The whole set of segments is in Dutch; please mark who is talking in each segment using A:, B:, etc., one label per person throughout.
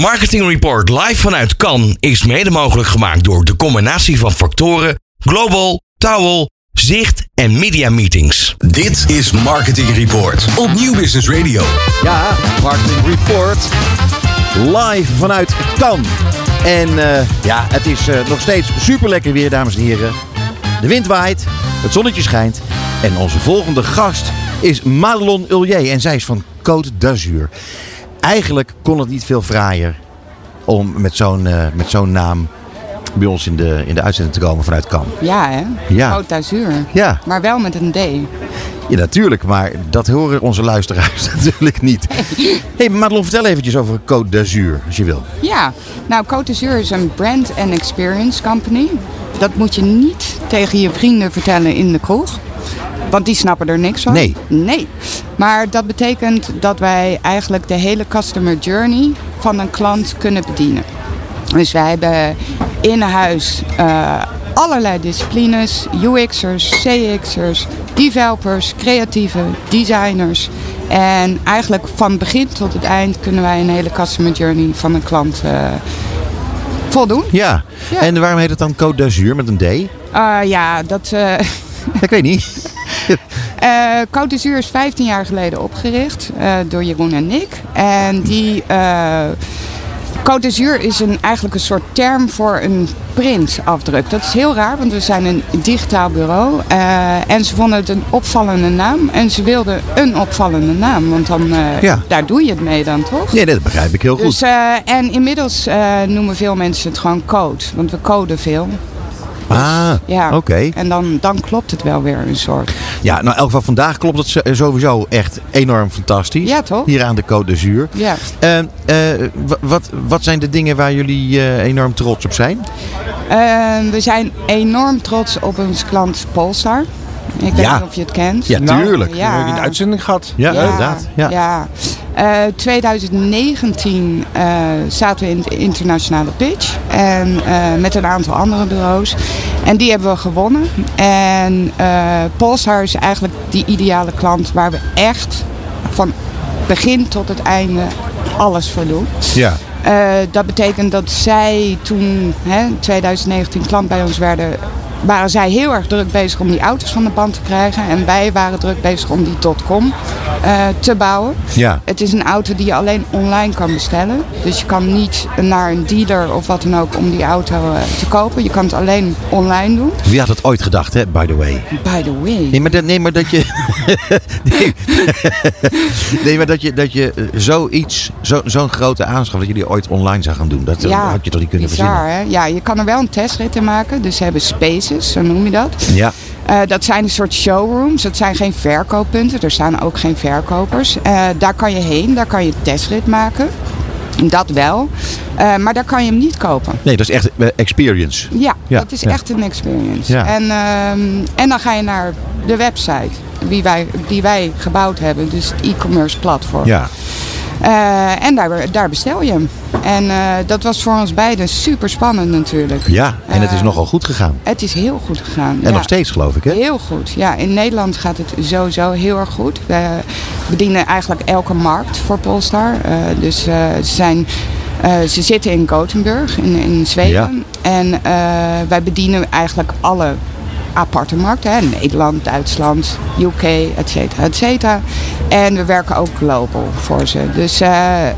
A: Marketing Report live vanuit Cannes is mede mogelijk gemaakt door de combinatie van factoren Global, Towel, Zicht en Media Meetings.
B: Dit is Marketing Report op Nieuw Business Radio.
C: Ja, Marketing Report. Live vanuit Cannes. En eh, ja, het is eh, nog steeds super lekker weer, dames en heren. De wind waait, het zonnetje schijnt. En onze volgende gast is Madelon Ullier. En zij is van Côte d'Azur. Eigenlijk kon het niet veel fraaier om met zo'n eh, met zo'n naam bij ons in de, in de uitzending te komen vanuit Cannes.
D: Ja, hè?
C: Ja.
D: Haute d'Azur.
C: Ja.
D: Maar wel met een D.
C: Ja, natuurlijk, maar dat horen onze luisteraars natuurlijk niet. Hé, hey, Madelon, vertel eventjes over Côte d'Azur, als je wil.
D: Ja, nou, Côte d'Azur is een brand and experience company. Dat moet je niet tegen je vrienden vertellen in de kroeg. Want die snappen er niks van.
C: Nee.
D: Nee. Maar dat betekent dat wij eigenlijk de hele customer journey van een klant kunnen bedienen. Dus wij hebben in huis eh, allerlei disciplines. UX'ers, CX'ers, developers, creatieven, designers. En eigenlijk van begin tot het eind kunnen wij een hele customer journey van een klant eh, voldoen.
C: Ja.
D: Ja.
C: en waarom heet het dan Côte d'Azur met een D?
D: Eh, ja, dat... eh,
C: Ik weet niet.
D: Eh Côte d'Azur is 15 jaar geleden opgericht eh, door Jeroen en Nick. En die. eh Côte d'Azur is een, eigenlijk een soort term voor een printafdruk. Dat is heel raar, want we zijn een digitaal bureau. eh, en ze vonden het een opvallende naam. En ze wilden een opvallende naam, want dan, eh,
C: Ja.
D: daar doe je het mee dan toch?
C: Nee, nee, dat begrijp ik heel goed.
D: Dus, eh, en inmiddels eh, noemen veel mensen het gewoon code, want we coden veel.
C: ah,
D: Ja.
C: oké.
D: En dan, dan klopt het wel weer een soort.
C: Ja, nou in elk geval vandaag klopt het zo- sowieso echt enorm fantastisch.
D: Ja, toch?
C: Hier aan de Côte d'Azur.
D: Ja.
C: Eh, eh, wa- wat, wat zijn de dingen waar jullie eh, enorm trots op zijn?
D: Eh, we zijn enorm trots op ons klant Polestar. Ik weet
C: Ja.
D: niet of je het kent.
C: Ja,
E: Nou,
C: tuurlijk.
E: We hebben in de uitzending gehad.
C: Ja, inderdaad. Ja.
D: ja. Eh, 2019 eh, zaten we in de internationale pitch. En, eh, met een aantal andere bureaus. En die hebben we gewonnen. En eh Polestar is eigenlijk die ideale klant waar we echt van begin tot het einde alles voor doen.
C: Ja.
D: Eh, dat betekent dat zij toen, hè, 2019, klant bij ons werden, waren zij heel erg druk bezig om die auto's van de band te krijgen. En wij waren druk bezig om die .com eh, te bouwen.
C: Ja.
D: Het is een auto die je alleen online kan bestellen. Dus je kan niet naar een dealer of wat dan ook om die auto eh, te kopen. Je kan het alleen online doen.
C: Wie had het ooit gedacht, hè, by the way?
D: By the way.
C: Nee, maar dat, nee, maar dat je. nee. nee, maar dat je, dat je eh, zoiets, zo- zo'n grote aanschaf, dat jullie ooit online zou gaan doen. Dat eh, had je toch niet kunnen
D: bizar,
C: verzinnen?
D: Hè? Ja, je kan er wel een testrit in maken. Dus ze hebben spaces, zo noem je dat.
C: Ja.
D: Eh, dat zijn een soort showrooms. Dat zijn geen verkooppunten. Er staan ook geen verkopers. Eh, daar kan je heen. Daar kan je een testrit maken. Dat wel. Eh, maar daar kan je hem niet kopen.
C: Nee, dat is echt eh, experience.
D: Ja,
C: Ja,
D: dat is
C: ja.
D: echt een experience.
C: Ja.
D: En, ehm, en dan ga je naar de website die wij, die wij gebouwd hebben. Dus het e-commerce platform.
C: Ja.
D: Eh, en daar, daar bestel je hem. En eh, dat was voor ons beiden super spannend natuurlijk.
C: Ja, en het is
D: Eh,
C: nogal goed gegaan.
D: Het is heel goed gegaan.
C: En
D: ja.
C: nog steeds, geloof ik, hè?
D: Heel goed. Ja, in Nederland gaat het sowieso heel erg goed. We bedienen eigenlijk elke markt voor Polestar. Eh, dus eh, ze, zijn, eh, ze zitten in Gothenburg, in, in Zweden. En eh, wij bedienen eigenlijk alle aparte markten. Hè? Nederland, Duitsland, UK, et cetera, et cetera. En we werken ook global voor ze. Dus eh,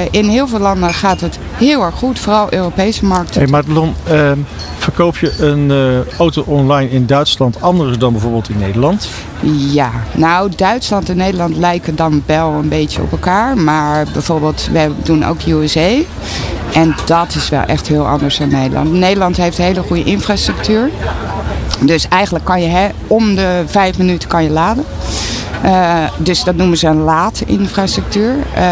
D: eh, in heel veel landen gaat het heel erg goed. Vooral Europese markten.
E: Hey Madelon, ehm, verkoop je een eh, auto online in Duitsland anders dan bijvoorbeeld in Nederland?
D: Ja, nou Duitsland en Nederland lijken dan wel een beetje op elkaar. Maar bijvoorbeeld, wij doen ook USA. En dat is wel echt heel anders dan Nederland. Nederland heeft hele goede infrastructuur. Dus eigenlijk kan je hè, om de vijf minuten kan je laden. Eh, dus dat noemen ze een laadinfrastructuur. Eh,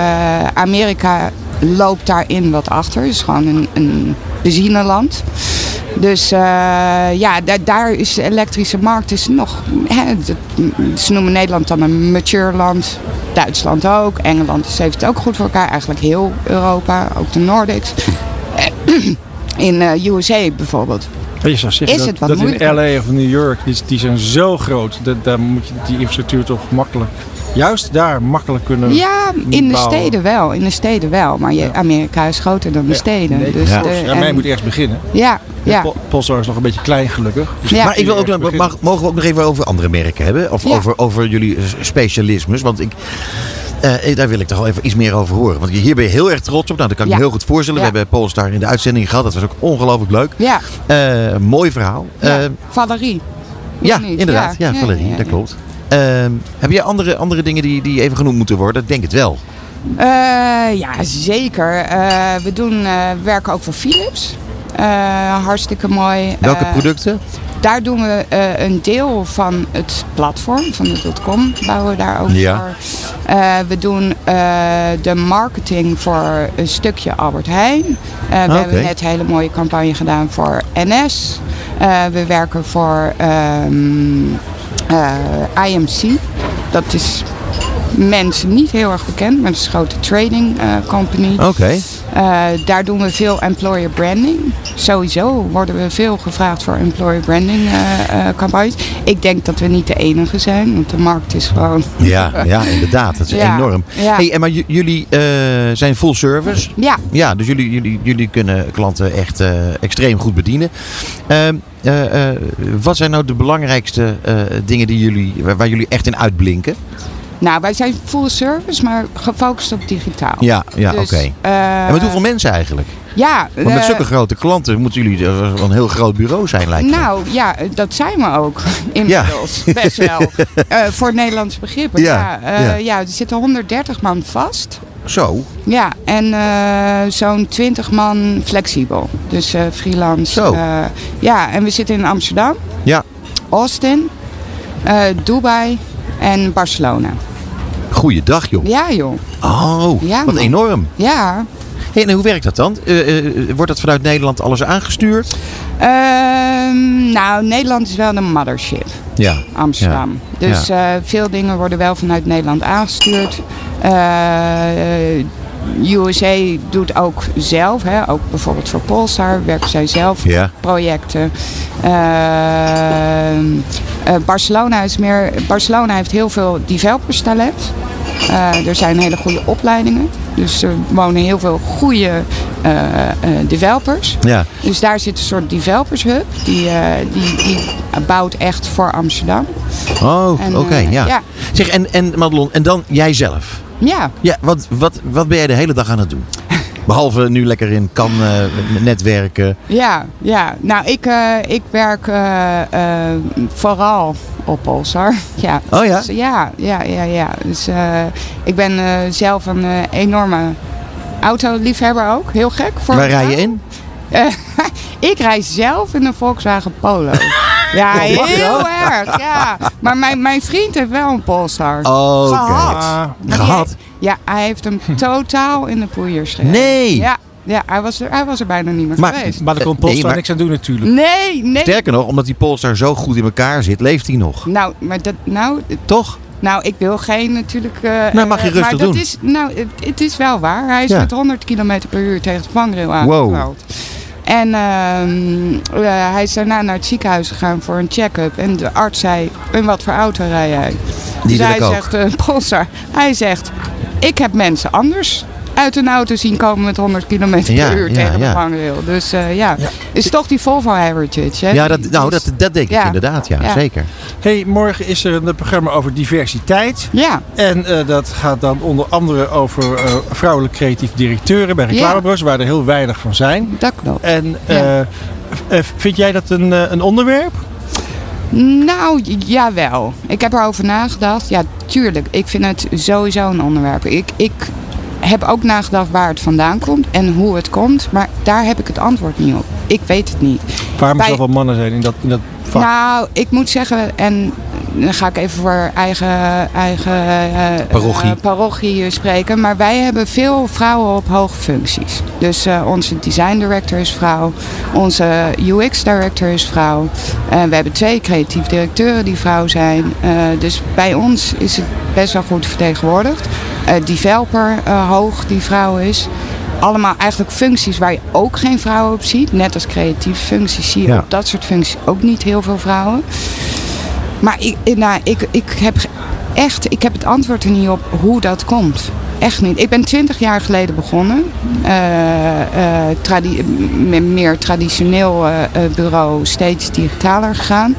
D: Amerika loopt daarin wat achter. Het is gewoon een, een benzineland. Dus eh, ja, da- daar is de elektrische markt is nog... Hè, dat- mm, ze noemen Nederland dan een mature land. Duitsland ook. Engeland is- heeft het ook goed voor elkaar. Eigenlijk heel Europa, ook de Nordics. In eh USA bijvoorbeeld.
E: Ja, Je zou zeggen
D: Is
E: dat,
D: het wat
E: dat in
D: moeilijker?
E: LA of New York, die, die zijn zo groot, dat, daar moet je die infrastructuur toch makkelijk juist daar makkelijk
C: Hm.
E: kunnen
D: Ja, in de
E: bouwen.
D: steden wel. In de steden wel. Maar je, Amerika is groter dan de steden.
E: Nee,
D: dus
E: ja.
D: de-
E: ja,
D: en-
E: mij moet eerst beginnen.
D: ja, ja.
E: Po- Polestar is nog een beetje klein gelukkig. Dus
D: Ja.
C: Maar ik wil ook, nog-
E: Beginnen.
C: mag, mogen we ook nog even over andere merken hebben? Of
D: Ja.
C: over, over jullie eh, specialismes? Want ik, eh, daar wil ik toch wel even iets meer over horen. Want hier ben je heel erg trots op. Nou, dat kan ik
D: Ja.
C: me heel goed voorstellen.
D: Ja.
C: We hebben Polestar in de uitzending gehad. Dat was ook ongelooflijk leuk.
D: Ja,
C: Eh, mooi verhaal.
D: ja.
C: Eh,
D: Valerie. Of
C: ja,
D: niet?
C: inderdaad. Ja, Valerie,
D: ja, ja.
C: dat klopt. Ehm, heb jij andere, andere dingen die, die even genoemd moeten worden? Ik denk het wel.
D: Eh, ja, zeker. Eh, we doen eh, werken ook voor Philips. Eh, hartstikke mooi.
C: Welke
D: Eh,
C: producten?
D: Daar doen we eh, een deel van het platform, van de dotcom, bouwen we daar ook
C: Ja.
D: voor. Eh, we doen eh, de marketing voor een stukje Albert Heijn. Eh, we
C: Ah,
D: hebben
C: oké.
D: net een hele mooie campagne gedaan voor NS. Eh, we werken voor ehm, eh, IMC. Dat is mensen niet heel erg bekend, maar het is een grote trading eh, company.
C: Oké.
D: Eh, daar doen we veel employer branding. Sowieso worden we veel gevraagd voor employer branding eh, eh, campagnes. Ik denk dat we niet de enige zijn, want de markt is gewoon.
C: Ja, ja, inderdaad. Dat is
D: Ja,
C: enorm.
D: ja.
C: Hey, en maar j- jullie eh, zijn full service.
D: Ja,
C: Ja, dus jullie, jullie, jullie kunnen klanten echt eh, extreem goed bedienen. Ehm, eh, eh, wat zijn nou de belangrijkste eh, dingen die jullie, waar, waar jullie echt in uitblinken?
D: nou wij zijn full service, maar gefocust op digitaal.
C: Ja, ja
D: Dus,
C: oké.
D: eh,
C: en met hoeveel mensen eigenlijk?
D: Ja,
C: Want met
D: eh,
C: zulke grote klanten moeten jullie eh, wel een heel groot bureau zijn, lijkt me.
D: Nou ja, dat zijn we ook inmiddels. Best wel. Eh, voor Nederlands begrippen.
C: Ja,
D: Ja, eh,
C: ja.
D: ja. er zitten 130 man vast.
C: Zo,
D: Ja, en eh, zo'n 20 man flexibel. Dus eh, freelance.
C: Zo.
D: eh, ja, en we zitten in Amsterdam,
C: ja.
D: Austin, eh, Dubai en Barcelona.
C: Goeiedag, joh.
D: Ja, joh.
C: Oh,
D: Ja,
C: wat
D: man.
C: enorm.
D: Ja.
C: Hey, en hoe werkt dat dan? Eh, eh, wordt dat vanuit Nederland alles aangestuurd?
D: Ehm, nou, Nederland is wel de mothership.
C: Ja.
D: Amsterdam.
C: Ja.
D: Dus eh, veel dingen worden wel vanuit Nederland aangestuurd. Eh, eh, USA doet ook zelf, hè, ook bijvoorbeeld voor Polestar werken zij zelf
C: Ja.
D: projecten. Ehm, eh, Barcelona, is meer, Barcelona heeft heel veel developers talent. Eh, er zijn hele goede opleidingen. Dus er wonen heel veel goede eh, eh, developers.
C: Ja.
D: Dus daar zit een soort developers hub. Die, eh, die, die bouwt echt voor Amsterdam.
C: Oh,
D: En,
C: oké,
D: eh,
C: ja.
D: ja.
C: Zeg, en, en Madelon, en dan jijzelf.
D: Ja,
C: Ja, wat, wat, wat ben jij de hele dag aan het doen? Behalve nu lekker in kan eh, netwerken.
D: ja, ja. Nou, ik, eh, ik werk eh, eh, vooral op Polsar. Ja.
C: Oh ja?
D: Dus, ja, ja, ja, ja. Dus eh, ik ben eh, zelf een eh, enorme autoliefhebber ook. Heel gek. Voor
C: Waar
D: een
C: rij je
D: vrouw.
C: in?
D: Ik rij zelf in een Volkswagen Polo. ja, heel erg. Ja. Maar mijn, mijn vriend heeft wel een Polestar.
C: Oh, Oké.
E: Ah,
D: Maar die
C: Gehad? Hm.
D: heeft- ja, hij heeft hem totaal in de poeiers gereden.
C: Nee.
D: Ja, ja hij, was er, hij was er bijna niet meer
C: Maar-
D: geweest.
E: maar daar kon
C: Eh,
E: Polestar
C: nee, maar-
E: niks aan doen natuurlijk.
D: Nee, nee.
C: Sterker nog, omdat die Polestar zo goed in elkaar zit, leeft hij nog.
D: Nou, maar dat, nou,
C: Toch?
D: nou, ik wil geen natuurlijk... eh,
C: Nou, mag je
D: eh,
C: rustig
D: maar dat
C: doen.
D: Is, nou, het, het is wel waar. Hij is
C: Ja.
D: met 100 km per uur tegen het vangrail
C: Wow.
D: aangehaald. En ehm, eh, hij is daarna naar het ziekenhuis gegaan voor een check-up. En de arts zei, in wat voor auto rij jij?
C: wil
D: dus hij
C: ik ook.
D: zegt, eh, Polestar. Hij zegt, ik heb mensen anders uit een auto zien komen met 100 km per
C: Ja,
D: uur
C: ja,
D: tegen
C: ja.
D: de vangrail. Dus eh, ja. is toch die Volvo Heritage. Hè?
C: Ja,
D: Die-
C: dat, nou,
D: die is-
C: dat, dat denk ik
D: Ja.
C: inderdaad, ja,
D: Ja.
C: zeker.
D: Hm?
E: Hey, morgen is er een programma over diversiteit.
D: Ja,
E: En eh, dat gaat dan onder andere over eh vrouwelijk creatief directeuren bij reclamebureaus, waar er heel weinig van zijn.
D: dat klopt.
E: En eh, eh, vind jij dat een, eh, een onderwerp?
D: Nou, j- jawel. Ik heb erover nagedacht. Ja, tuurlijk. Ik vind het sowieso een onderwerp. Ik, ik heb ook nagedacht waar het vandaan komt en hoe het komt. Maar daar heb ik het antwoord niet op. Ik weet het niet.
E: Waarom
D: Bij-
E: zoveel mannen zijn in dat, in dat vak?
D: Nou, ik moet zeggen, en dan ga ik even voor eigen, eigen eh,
C: Parochie.
D: eh, parochie spreken. Maar wij hebben veel vrouwen op hoge functies. Dus eh, onze design director is vrouw, onze UX director is vrouw. En we hebben twee creatief directeuren die vrouw zijn. Eh, dus bij ons is het best wel goed vertegenwoordigd. Eh, developer eh, hoog die vrouw is. Allemaal eigenlijk functies waar je ook geen vrouwen op ziet. Net als creatieve functies zie je
C: Ja.
D: op dat soort functies ook niet heel veel vrouwen. Maar eh, ik, ik- nou, ik, ik heb ge- echt, ik heb het antwoord er niet op hoe dat komt. Echt niet. Ik ben twintig jaar geleden begonnen. Eh, eh, tradi- met meer traditioneel eh, eh, bureau, steeds digitaler gegaan.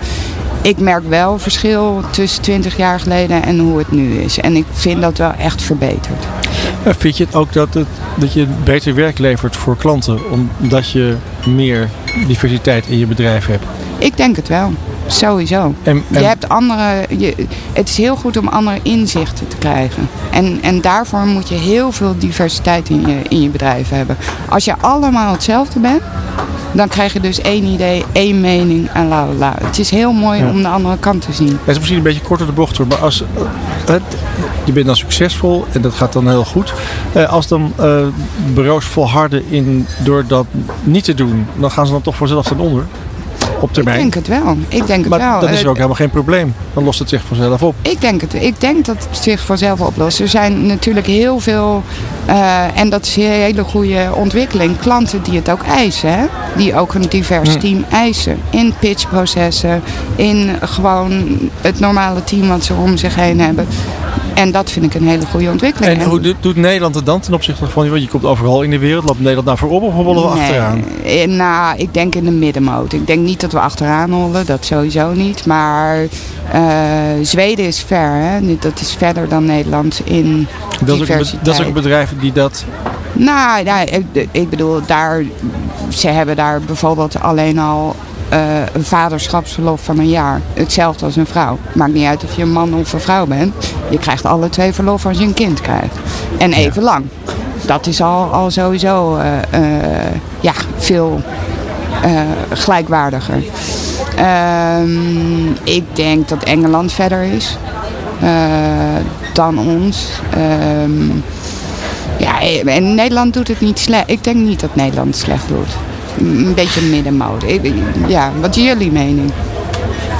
D: Ik merk wel verschil tussen twintig jaar geleden en hoe het nu is. En ik vind dat wel echt verbeterd. Nou-
E: En Eh, vind je het ook dat, het, dat je beter werk levert voor klanten? Omdat je meer diversiteit in je bedrijf hebt.
D: Ik denk het wel. Sowieso.
E: En, en
D: Je hebt andere, je, het is heel goed om andere inzichten te krijgen. En, en daarvoor moet je heel veel diversiteit in je, in je bedrijf hebben. Als je allemaal hetzelfde bent, dan krijg je dus één idee, één mening en la la la. Het is heel mooi
E: Ja.
D: om de andere kant te zien.
E: het is misschien een beetje kort door de bocht hoor, maar als eh, het, je bent dan succesvol en dat gaat dan heel goed. Eh, als dan eh, bureaus volharden in door dat niet te doen, dan gaan ze dan toch voorzelf ten onder. Op
D: Ik
E: termijn.
D: denk het wel. Ik denk het
E: maar
D: wel.
E: dan is er
D: Eh,
E: ook helemaal geen probleem. Dan lost het zich vanzelf op.
D: Ik denk het. Ik denk dat het zich vanzelf oplost. Er zijn natuurlijk heel veel, eh, en dat is een hele goede ontwikkeling, klanten die het ook eisen. Hè? Die ook een divers
E: Hm.
D: team eisen. In pitchprocessen, in gewoon het normale team wat ze om zich heen hebben. En dat vind ik een hele goede ontwikkeling.
E: En hoe doet, doet Nederland het dan ten opzichte van, want je komt overal in de wereld, loopt Nederland nou voorop of hobbelen we
D: Nee,
E: achteraan?
D: eh, Nou, ik denk in de middenmoot. Ik denk niet dat we achteraan hollen, dat sowieso niet. Maar eh, Zweden is ver, hè? dat is verder dan Nederland in
E: Dat is, ook, een be-
D: diversiteit.
E: dat is ook een bedrijf die dat...
D: Nou, nou, ik- ik bedoel, daar, ze hebben daar bijvoorbeeld alleen al eh, een vaderschapsverlof van een jaar. Hetzelfde als een vrouw. Maakt niet uit of je een man of een vrouw bent. Je krijgt alle twee verlof als je een kind krijgt. En even lang. Dat is al, al sowieso eh, eh, ja, veel eh, gelijkwaardiger. Ehm, ik denk dat Engeland verder is eh, dan ons. Ehm, ja, eh, en Nederland doet het niet slecht. Ik denk niet dat Nederland het slecht doet. Een beetje middenmoot. Ik- Ja, wat is jullie mening?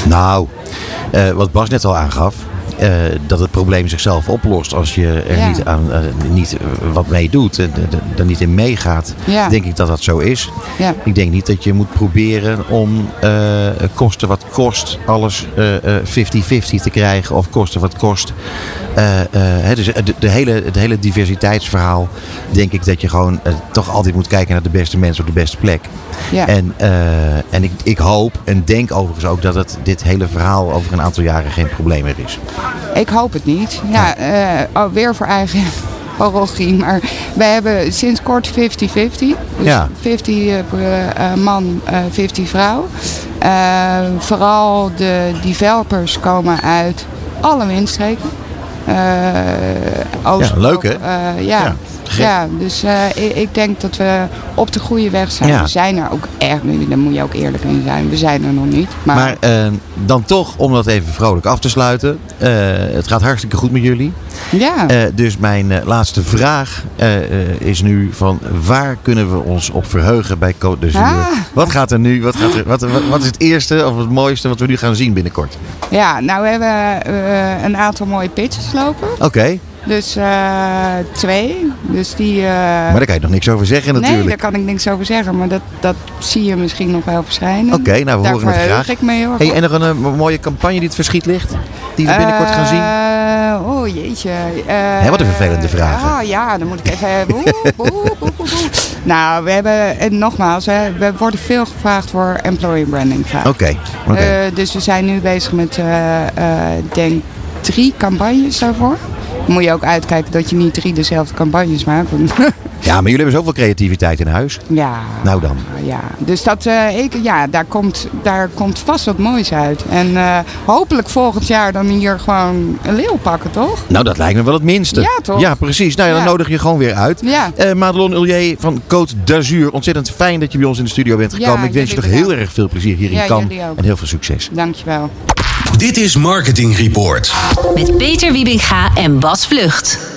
C: Nou, eh, wat Bas net al aangaf. eh, dat het probleem zichzelf oplost als je er
D: Ja.
C: niet, aan, eh, niet eh, wat mee doet. En eh, er niet in meegaat.
D: Ja.
C: Denk ik dat dat zo is.
D: Ja.
C: Ik denk niet dat je moet proberen om eh, kosten wat kost alles eh, eh, 50-50 te krijgen. Of kosten wat kost. Eh, eh, hè, dus eh, de, de hele, het hele diversiteitsverhaal. Denk ik dat je gewoon eh, toch altijd moet kijken naar de beste mensen op de beste plek.
D: Ja.
C: En, eh, en ik, ik hoop en denk overigens ook dat het, dit hele verhaal over een aantal jaren geen probleem meer is.
D: Ik hoop het niet. Ja, eh, oh, weer voor eigen parochie. Maar we hebben sinds kort 50-50. Dus
C: Ja.
D: 50 eh, per, eh, man, eh, 50 vrouw. Eh, vooral de developers komen uit alle windstreken. Eh Oost-
C: Ja, leuk, hè?
D: eh,
C: Ja,
D: ja.
C: gek.
D: Ja, dus eh, ik, ik denk dat we op de goede weg zijn.
C: Ja.
D: We zijn er ook echt, daar moet je ook eerlijk in zijn. We zijn er nog niet. Maar,
C: Maar eh, dan toch, om dat even vrolijk af te sluiten. eh, het gaat hartstikke goed met jullie.
D: ja.
C: Eh, dus mijn eh, laatste vraag eh, eh, is nu van waar kunnen we ons op verheugen bij Côte d'Azur?
D: Ah.
C: Wat gaat er nu? Wat, gaat er, wat, wat, wat is het eerste of het mooiste wat we nu gaan zien binnenkort?
D: Ja, nou we hebben eh, een aantal mooie pitches lopen.
C: Oké,
D: Dus eh, twee. Dus die. eh,
C: maar daar kan je nog niks over zeggen natuurlijk.
D: Nee, daar kan ik niks over zeggen, maar dat, dat zie je misschien nog wel verschijnen.
C: Oké, nou, we
D: daar
C: horen het
D: verheug
C: graag.
D: ik me heel erg.
C: Hey, en nog een, eh, mooie campagne die het verschiet ligt? Die we binnenkort gaan zien?
D: Eh, Oh jeetje. Eh,
C: Hé, wat een vervelende vragen.
D: Ah ja, dan moet ik even. Woe, woe, woe, woe, woe. Nou, we hebben. En nogmaals, hè, we worden veel gevraagd voor employer branding vragen.
C: Oké, oké.
D: Eh, dus we zijn nu bezig met, eh, eh, denk drie campagnes daarvoor. Moet je ook uitkijken dat je niet drie dezelfde campagnes maakt. want
C: Ja, maar jullie hebben zoveel creativiteit in huis.
D: ja.
C: Nou dan.
D: Ja, dus dat, eh, ik, ja, daar, komt, daar komt vast wat moois uit. En eh, hopelijk volgend jaar dan hier gewoon een leeuw pakken, toch?
C: Nou, dat lijkt me wel het minste.
D: Ja, toch?
C: Ja, precies. Nou ja, dan
D: Ja.
C: nodig je gewoon weer uit.
D: Ja.
C: Eh, Madelon Ullier van Côte d'Azur. Ontzettend fijn dat je bij ons in de studio bent gekomen.
D: Ja,
C: ik wens je toch
D: jullie
C: heel
D: bedankt.
C: erg veel plezier hier
D: Ja,
C: in Cannes.
D: jullie ook.
C: En heel veel succes.
D: Dankjewel.
B: Dit is Marketing Report.
F: Met Peter Wiebinga en Bas Vlucht.